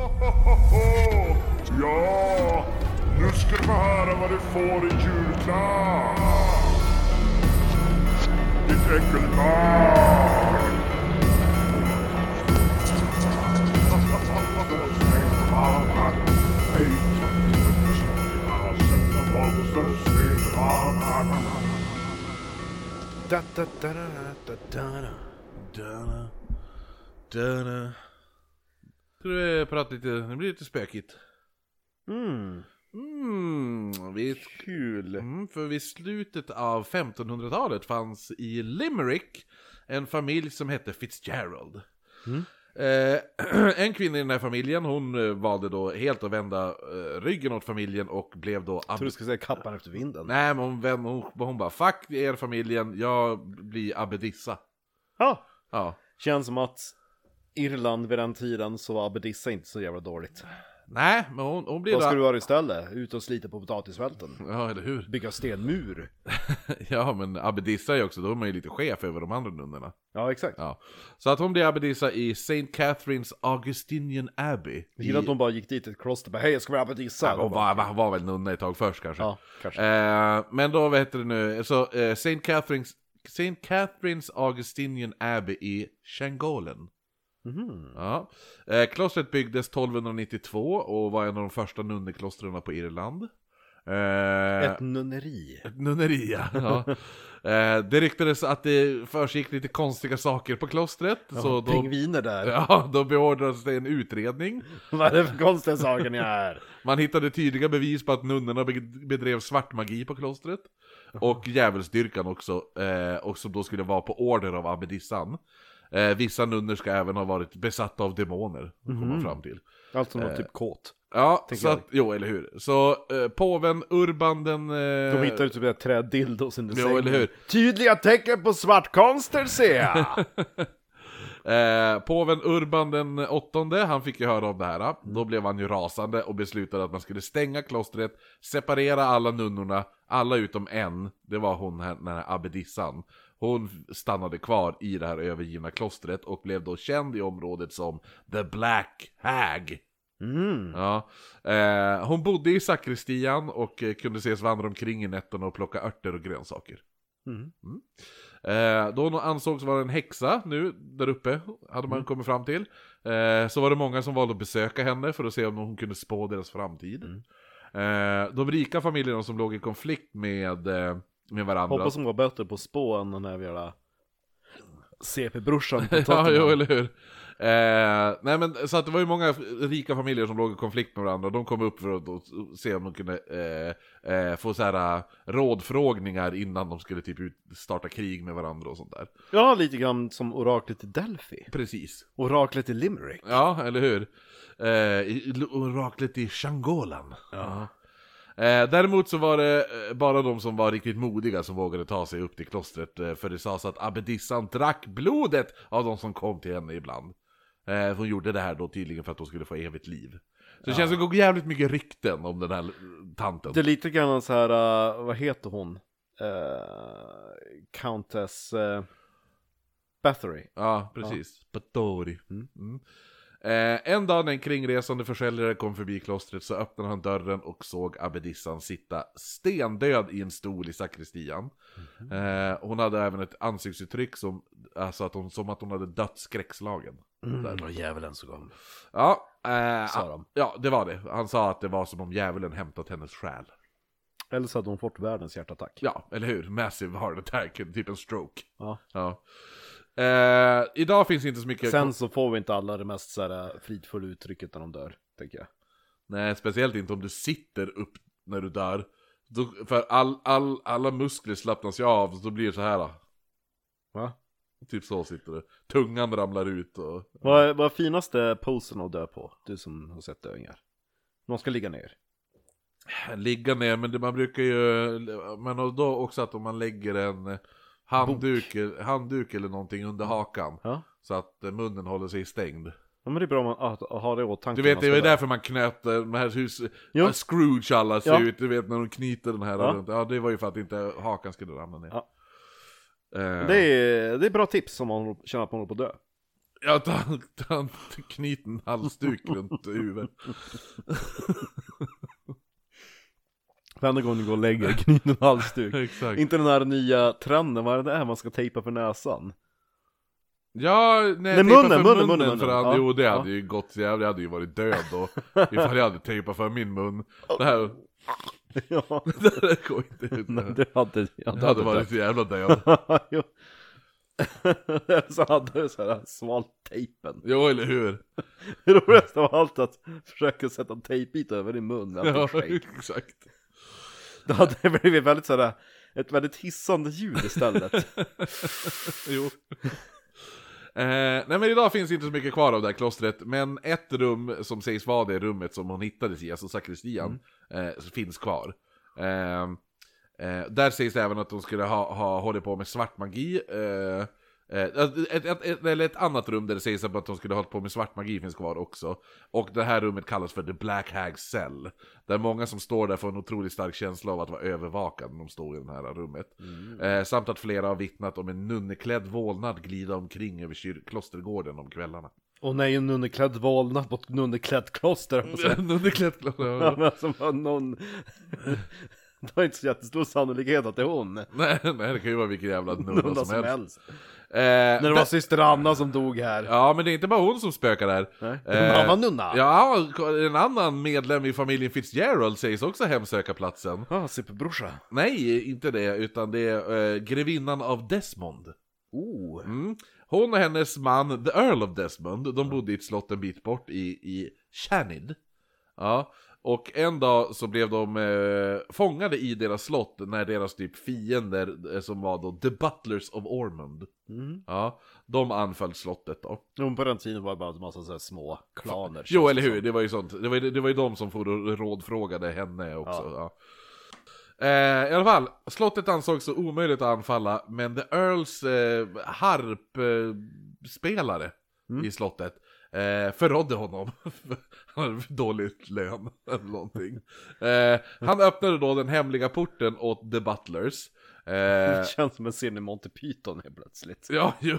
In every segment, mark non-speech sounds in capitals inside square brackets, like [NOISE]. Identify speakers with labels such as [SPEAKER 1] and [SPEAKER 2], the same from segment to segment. [SPEAKER 1] [LAUGHS] får en julklapp. Ditt [LAUGHS] äckelbarn.
[SPEAKER 2] Da, da, da, da, da, da, da, da, da.
[SPEAKER 3] Tror vi pratar lite, det blir lite spökigt.
[SPEAKER 2] Mm,
[SPEAKER 3] Mm, vi,
[SPEAKER 2] kul.
[SPEAKER 3] mm, för vid slutet av 1500-talet fanns i Limerick en familj som hette Fitzgerald.
[SPEAKER 2] Mm.
[SPEAKER 3] Eh, [CLEARS THROAT] en kvinna i den här familjen, hon eh, valde då helt att vända eh, ryggen åt familjen och blev då
[SPEAKER 2] Jag tror du skulle säga kappan efter vinden.
[SPEAKER 3] Nej, men hon, vän- hon, hon bara 'fuck er familjen, jag blir abbedissa'
[SPEAKER 2] Ja,
[SPEAKER 3] Ja.
[SPEAKER 2] känns som att Irland vid den tiden så var abbedissa inte så jävla dåligt.
[SPEAKER 3] Nej, men hon, hon blir
[SPEAKER 2] Vad ska du
[SPEAKER 3] då...
[SPEAKER 2] göra istället? Ut och slita på potatisfälten?
[SPEAKER 3] Ja, eller hur?
[SPEAKER 2] Bygga stenmur?
[SPEAKER 3] [LAUGHS] Ja, men abbedissa är ju också, då är man ju lite chef över de andra nunnorna.
[SPEAKER 2] Ja, exakt.
[SPEAKER 3] Ja. Så att hon blir abbedissa i St. Catharines Augustinian Abbey.
[SPEAKER 2] Jag gillar att de bara gick dit i ett kloster och bara hej jag ska vara abbedissa.
[SPEAKER 3] Ja, Hon var, var, var väl nunna ett tag först kanske.
[SPEAKER 2] Ja, kanske.
[SPEAKER 3] Eh, men då, vad heter det nu, så eh, St. Catharines, St. Catharines Augustinian Abbey i Shangolen.
[SPEAKER 2] Mhm.
[SPEAKER 3] Ja. Eh, klostret byggdes 1292 och var en av de första nunneklostren på Irland. Eh,
[SPEAKER 2] Ett nunneri.
[SPEAKER 3] ett nunneri, ja. ja. Eh, det ryktades att det försiggick lite konstiga saker på klostret, så då,
[SPEAKER 2] Pingviner där.
[SPEAKER 3] [LAUGHS] ja, då beordrades det en utredning.
[SPEAKER 2] [LAUGHS] Vad är det för konstiga saker ni är?
[SPEAKER 3] Man hittade tydliga bevis på att nunnorna be- bedrev svartmagi på klostret. Och djävulsdyrkan också, eh, och som då skulle vara på order av abbedissan. Eh, vissa nunnor ska även ha varit besatta av demoner, kommer man fram till.
[SPEAKER 2] Alltså någon typ kåt.
[SPEAKER 3] Ja,
[SPEAKER 2] Tänker
[SPEAKER 3] så
[SPEAKER 2] jag.
[SPEAKER 3] att, jo eller hur. Så eh, påven Urban den... Eh,
[SPEAKER 2] De hittar ju typ ett trädildos under
[SPEAKER 3] Jo,
[SPEAKER 2] sängen.
[SPEAKER 3] eller hur?
[SPEAKER 2] Tydliga tecken på svartkonster ser
[SPEAKER 3] [LAUGHS]
[SPEAKER 2] jag!
[SPEAKER 3] eh, påven Urban den åttonde, han fick ju höra om det här. eh. Då blev han ju rasande och beslutade att man skulle stänga klostret, separera alla nunnorna, alla utom en, det var hon här, den här abbedissan. Hon stannade kvar i det här övergivna klostret och blev då känd i området som The Black Hag.
[SPEAKER 2] Mm.
[SPEAKER 3] Ja. Eh, hon bodde i sakristian och eh, kunde ses vandra omkring i nätterna och plocka örter och grönsaker.
[SPEAKER 2] Mm.
[SPEAKER 3] Eh, då hon ansågs vara en häxa nu där uppe, hade man kommit fram till. Eh, så var det många som valde att besöka henne för att se om hon kunde spå deras framtid. Eh, de rika familjerna som låg i konflikt med, eh, med varandra.
[SPEAKER 2] Hoppas de var bättre på spå än den här jävla CP-brorsan på
[SPEAKER 3] [LAUGHS] [LAUGHS] Ja,
[SPEAKER 2] Tottenham.
[SPEAKER 3] jo, eller hur. Eh, nej men så att det var ju många rika familjer som låg i konflikt med varandra, de kom upp för att och se om de kunde eh, eh, få så här eh, rådfrågningar innan de skulle typ ut, starta krig med varandra och sånt där.
[SPEAKER 2] ja, lite grann som oraklet i Delphi.
[SPEAKER 3] Precis.
[SPEAKER 2] Oraklet i Limerick.
[SPEAKER 3] Ja, eller hur? Eh, i- i- oraklet i Shangolan. Ja. Eh, däremot så var det eh, bara de som var riktigt modiga som vågade ta sig upp till klostret, eh, för det sades att abbedissan drack blodet av de som kom till henne ibland. Eh, hon gjorde det här då tydligen för att hon skulle få evigt liv. Så det känns som det går jävligt mycket rykten om den här eh, tanten.
[SPEAKER 2] Det är lite grann så här, uh, vad heter hon? Eh, Countess uh, Bathory.
[SPEAKER 3] Ja, precis. Patori. Mm. Eh, en dag när en kringresande försäljare kom förbi klostret så öppnade han dörren och såg abbedissan sitta stendöd i en stol i sakristian.
[SPEAKER 2] Mhm.
[SPEAKER 3] Eh, hon hade även ett ansiktsuttryck som, alltså att hon, som att hon hade dött skräckslagen.
[SPEAKER 2] Den var djävulen så kom.
[SPEAKER 3] Ja, eh,
[SPEAKER 2] Sa de.
[SPEAKER 3] ja, det var det. Han sa att det var som om djävulen hämtat hennes själ.
[SPEAKER 2] Eller så hade hon fått världens hjärtattack.
[SPEAKER 3] Ja, eller hur? Massive heart attack, typ en stroke.
[SPEAKER 2] Ja.
[SPEAKER 3] Ja. Eh, idag finns inte så mycket...
[SPEAKER 2] Sen så får vi inte alla det mest så här, eh, fridfulla uttrycket när de dör, tänker jag.
[SPEAKER 3] Nej, speciellt inte om du sitter upp när du dör. Då, för all, all, alla muskler slappnas ju av, så då blir det så här. Då.
[SPEAKER 2] Va?
[SPEAKER 3] Typ så sitter du. Tungan ramlar ut och...
[SPEAKER 2] Vad är, vad är finaste posen att dö på? Du som har sett döingar. Någon ska ligga ner.
[SPEAKER 3] Ligga ner, men det, man brukar ju... Men och då också att om man lägger en handduk, handduk eller någonting under hakan.
[SPEAKER 2] Ja.
[SPEAKER 3] Så att eh, munnen håller sig stängd.
[SPEAKER 2] ja men det är bra om man att, att ha det i åtanke.
[SPEAKER 3] Du vet,
[SPEAKER 2] när man
[SPEAKER 3] det var
[SPEAKER 2] ska
[SPEAKER 3] ju
[SPEAKER 2] dö.
[SPEAKER 3] därför man knöt eh, de här hus... eh,
[SPEAKER 2] Jo.
[SPEAKER 3] Scrooge alla ser
[SPEAKER 2] Ja.
[SPEAKER 3] ut, du vet när de knyter den här
[SPEAKER 2] Ja.
[SPEAKER 3] runt. Ja, det var ju för att inte hakan skulle ramla ner.
[SPEAKER 2] Ja.
[SPEAKER 3] Eh,
[SPEAKER 2] Det är, det är bra tips om man känner att man håller på att dö.
[SPEAKER 3] Ja, att han, han knyter en halsduk runt huvudet.
[SPEAKER 2] Varenda gång du går och lägger kniven en halsduk. [LAUGHS]
[SPEAKER 3] Exakt.
[SPEAKER 2] Inte den här nya trenden, vad är det där man ska tejpa för näsan? [LAUGHS]
[SPEAKER 3] Ja, nej,
[SPEAKER 2] Nej,
[SPEAKER 3] tejpa
[SPEAKER 2] munnen,
[SPEAKER 3] för
[SPEAKER 2] munnen,
[SPEAKER 3] munnen,
[SPEAKER 2] munnen,
[SPEAKER 3] för
[SPEAKER 2] munnen.
[SPEAKER 3] han,
[SPEAKER 2] Ja,
[SPEAKER 3] jo det
[SPEAKER 2] ja.
[SPEAKER 3] hade ju gått jävligt, jag hade ju varit död då
[SPEAKER 2] [LAUGHS]
[SPEAKER 3] Ifall jag hade tejpat för min mun Det här, [LAUGHS]
[SPEAKER 2] ja,
[SPEAKER 3] det här går inte ut
[SPEAKER 2] nej,
[SPEAKER 3] Det
[SPEAKER 2] det hade jag inte
[SPEAKER 3] hade varit så jävla död
[SPEAKER 2] [LAUGHS] Jo. [LAUGHS] Eller så hade du såhär svalt tejpen.
[SPEAKER 3] Jo eller hur?
[SPEAKER 2] Det roligaste av allt att försöka sätta en tejpbit över din mun när
[SPEAKER 3] Ja, [LAUGHS]
[SPEAKER 2] han fick shake.
[SPEAKER 3] exakt
[SPEAKER 2] Då hade det blivit väldigt sådär, ett väldigt hissande ljud istället.
[SPEAKER 3] Jo eh, Nej men idag finns inte så mycket kvar av det här klostret Men ett rum som sägs vara det rummet som hon hittades i, alltså sakristian eh, Finns kvar eh, eh, Där sägs det även att de skulle ha, ha hållit på med svart magi eh, Eh, ett, ett, ett, eller ett annat rum där det sägs att de skulle ha hållit på med svart magi finns kvar också. Och det här rummet kallas för The Black Hag Cell. Där många som står där får en otroligt stark känsla av att vara övervakade när de står i det här rummet. Eh, samt att flera har vittnat om en nunneklädd vålnad glida omkring över kyr- klostergården om kvällarna.
[SPEAKER 2] [LAUGHS] Och nej, en nunneklädd valnöt på ett nunneklätt kloster. höll jag på att säga.
[SPEAKER 3] nunneklädd
[SPEAKER 2] [LAUGHS]
[SPEAKER 3] [LAUGHS]
[SPEAKER 2] Ja,
[SPEAKER 3] kloster?
[SPEAKER 2] men alltså, var någon... [LAUGHS] Det var inte så jättestor sannolikhet att det är hon.
[SPEAKER 3] nej, nej, det kan ju vara vilken jävla
[SPEAKER 2] Någon
[SPEAKER 3] nunna
[SPEAKER 2] som,
[SPEAKER 3] som helst.
[SPEAKER 2] helst.
[SPEAKER 3] Eh,
[SPEAKER 2] När det
[SPEAKER 3] där-
[SPEAKER 2] var syster Anna som dog här.
[SPEAKER 3] Ja, men det är inte bara hon som spökar där.
[SPEAKER 2] Nej.
[SPEAKER 3] Eh,
[SPEAKER 2] En annan nunna.
[SPEAKER 3] Ja, en annan medlem i familjen Fitzgerald sägs också hemsöka platsen.
[SPEAKER 2] Ah, superbrorsa.
[SPEAKER 3] Nej, inte det, utan det är eh, grevinnan av Desmond.
[SPEAKER 2] Oh.
[SPEAKER 3] Mm. Hon och hennes man, the Earl of Desmond, de bodde i ett slott en bit bort i, i Shanid. Ja, och en dag så blev de eh, fångade i deras slott när deras typ fiender, eh, som var då the Butlers of Ormond,
[SPEAKER 2] Mm.
[SPEAKER 3] ja, de anföll slottet då.
[SPEAKER 2] Jo, på den tiden var det bara en massa så här små klaner.
[SPEAKER 3] Jo, eller hur? Det var ju sånt. Det var ju, det var ju de som for och rådfrågade henne också. Ja. Eh, I alla fall, slottet ansågs så omöjligt att anfalla, men The Earls eh, harpspelare eh, spelare
[SPEAKER 2] Mm.
[SPEAKER 3] i slottet eh, förrådde honom. [LAUGHS] han hade för dåligt lön eller någonting. Eh, han öppnade då den hemliga porten åt The Butlers. Eh, [LAUGHS]
[SPEAKER 2] Det känns som en scen i Monty Python helt plötsligt.
[SPEAKER 3] Ja, jo.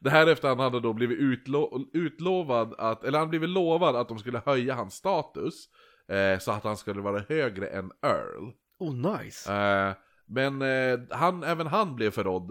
[SPEAKER 3] Det här efter han hade då blivit utlo- utlovad att, eller han blivit lovad att de skulle höja hans status. Eh, så att han skulle vara högre än Earl.
[SPEAKER 2] Oh, nice.
[SPEAKER 3] Eh, men eh, han, även han blev förrådd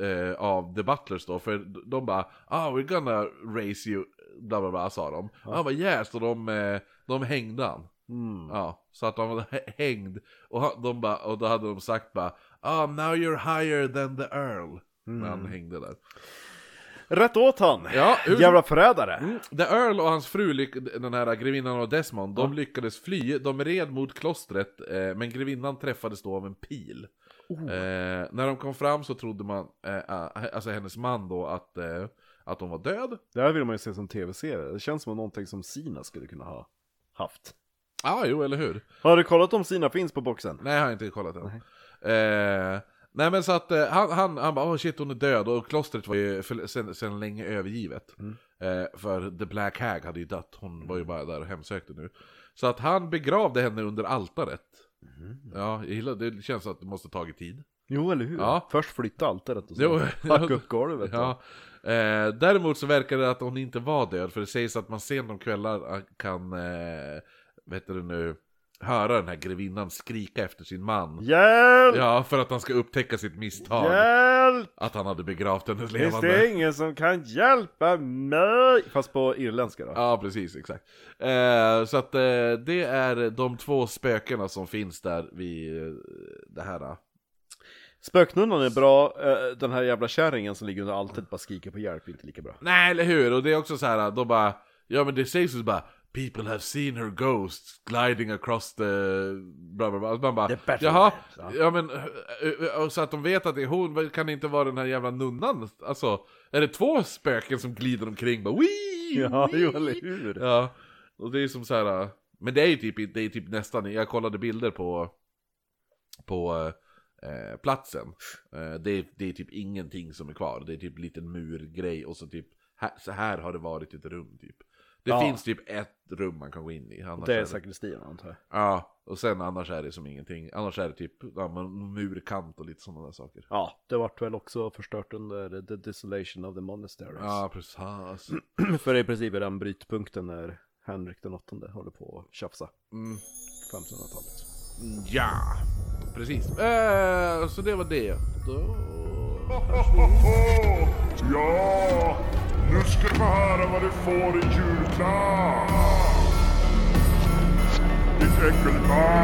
[SPEAKER 3] eh, av The Butlers då, för de bara ah, we're gonna raise you, bla bla bla sa de. Han var yes, och de, eh, de hängde han.
[SPEAKER 2] Mm.
[SPEAKER 3] Ja, så att han var hä- hängd. Och, han, de bara, och då hade de sagt bara ah, now you're higher than the Earl. När
[SPEAKER 2] Mm.
[SPEAKER 3] han hängde där.
[SPEAKER 2] Rätt åt han!
[SPEAKER 3] Ja, hur- Mm.
[SPEAKER 2] Jävla förrädare!
[SPEAKER 3] The Earl och hans fru, lyck- den här grevinnan och Desmond, de lyckades fly. De red mot klostret, eh, men grevinnan träffades då av en pil.
[SPEAKER 2] Oh. Mm.
[SPEAKER 3] Eh, när de kom fram så trodde man, eh, ah, alltså hennes man då, att, eh, att hon var död.
[SPEAKER 2] Det här vill man ju se som tv-serie. Det känns som någonting som Sina skulle kunna ha haft.
[SPEAKER 3] Ja, ah, jo, eller hur?
[SPEAKER 2] Har du kollat om Sina finns på boxen?
[SPEAKER 3] Nej, jag har inte kollat än. Nej, eh, nej men så att eh, han, han, han bara, oh shit hon är död, och klostret var ju för, sen, sen länge övergivet. Eh, för The Black Hag hade ju dött, hon var ju bara där och hemsökte nu. Så att han begravde henne under altaret. Ja, jag gillar, det känns som att det måste ha tagit tid.
[SPEAKER 2] Jo, eller hur?
[SPEAKER 3] Ja.
[SPEAKER 2] Först flytta altaret och [LAUGHS]
[SPEAKER 3] Jo,
[SPEAKER 2] så hacka upp golvet.
[SPEAKER 3] Ja. Eh, däremot så verkar det att hon inte var död, för det sägs att man sent om kvällar kan, eh, vad heter det nu, höra den här grevinnan skrika efter sin man.
[SPEAKER 2] Hjälp!
[SPEAKER 3] Ja, för att han ska upptäcka sitt misstag.
[SPEAKER 2] Hjälp!
[SPEAKER 3] Att han hade begravt hennes
[SPEAKER 2] Finns det
[SPEAKER 3] levande.
[SPEAKER 2] ingen som kan hjälpa mig? Fast på irländska då.
[SPEAKER 3] Ja, precis, exakt. Eh, så att eh, det är de två spökena som finns där vid eh, det här. eh.
[SPEAKER 2] Spöknunnan är bra, eh, den här jävla kärringen som ligger under altaret bara skriker på hjälp är inte lika bra.
[SPEAKER 3] Nej, eller hur? Och det är också så här, de bara, ja men det sägs ju bara, People have seen her ghost gliding across the... Bla bla bla. Alltså Man
[SPEAKER 2] The
[SPEAKER 3] bara, jaha,
[SPEAKER 2] battlefield, ja.
[SPEAKER 3] ja men... eh, eh, eh, Så att de vet att det är hon, kan det inte vara den här jävla nunnan? Alltså, är det två spöken som glider omkring bara, wii,
[SPEAKER 2] [LAUGHS] Ja,
[SPEAKER 3] wii?"
[SPEAKER 2] jo eller hur?
[SPEAKER 3] Ja, och det är som så här. eh, Men det är ju typ, det är typ nästan, jag kollade bilder på, på eh, platsen. Eh, det, är, det är typ ingenting som är kvar, det är typ liten murgrej och så typ, här, så här har det varit ett rum typ. Det
[SPEAKER 2] Ja.
[SPEAKER 3] finns typ ett rum man kan gå in i. Annars
[SPEAKER 2] Det
[SPEAKER 3] är
[SPEAKER 2] är sakristian antar jag.
[SPEAKER 3] Ja, och sen annars är det som ingenting. Annars är det typ ja, men murkant och lite sådana där saker.
[SPEAKER 2] Ja, det vart väl också förstört under The Desolation of the Monasteries.
[SPEAKER 3] Ja, precis.
[SPEAKER 2] [CLEARS THROAT]
[SPEAKER 3] [CLEARS THROAT]
[SPEAKER 2] För det är i princip den brytpunkten när Henrik den åttonde håller på att tjafsa.
[SPEAKER 3] Mm.
[SPEAKER 2] 1500-talet.
[SPEAKER 3] Ja, precis. Eh, så det var det. Då...
[SPEAKER 1] Hohoho! [LAUGHS] Ja, nu ska du få höra vad du får i julklapp. Ditt äckelbarn. [LAUGHS]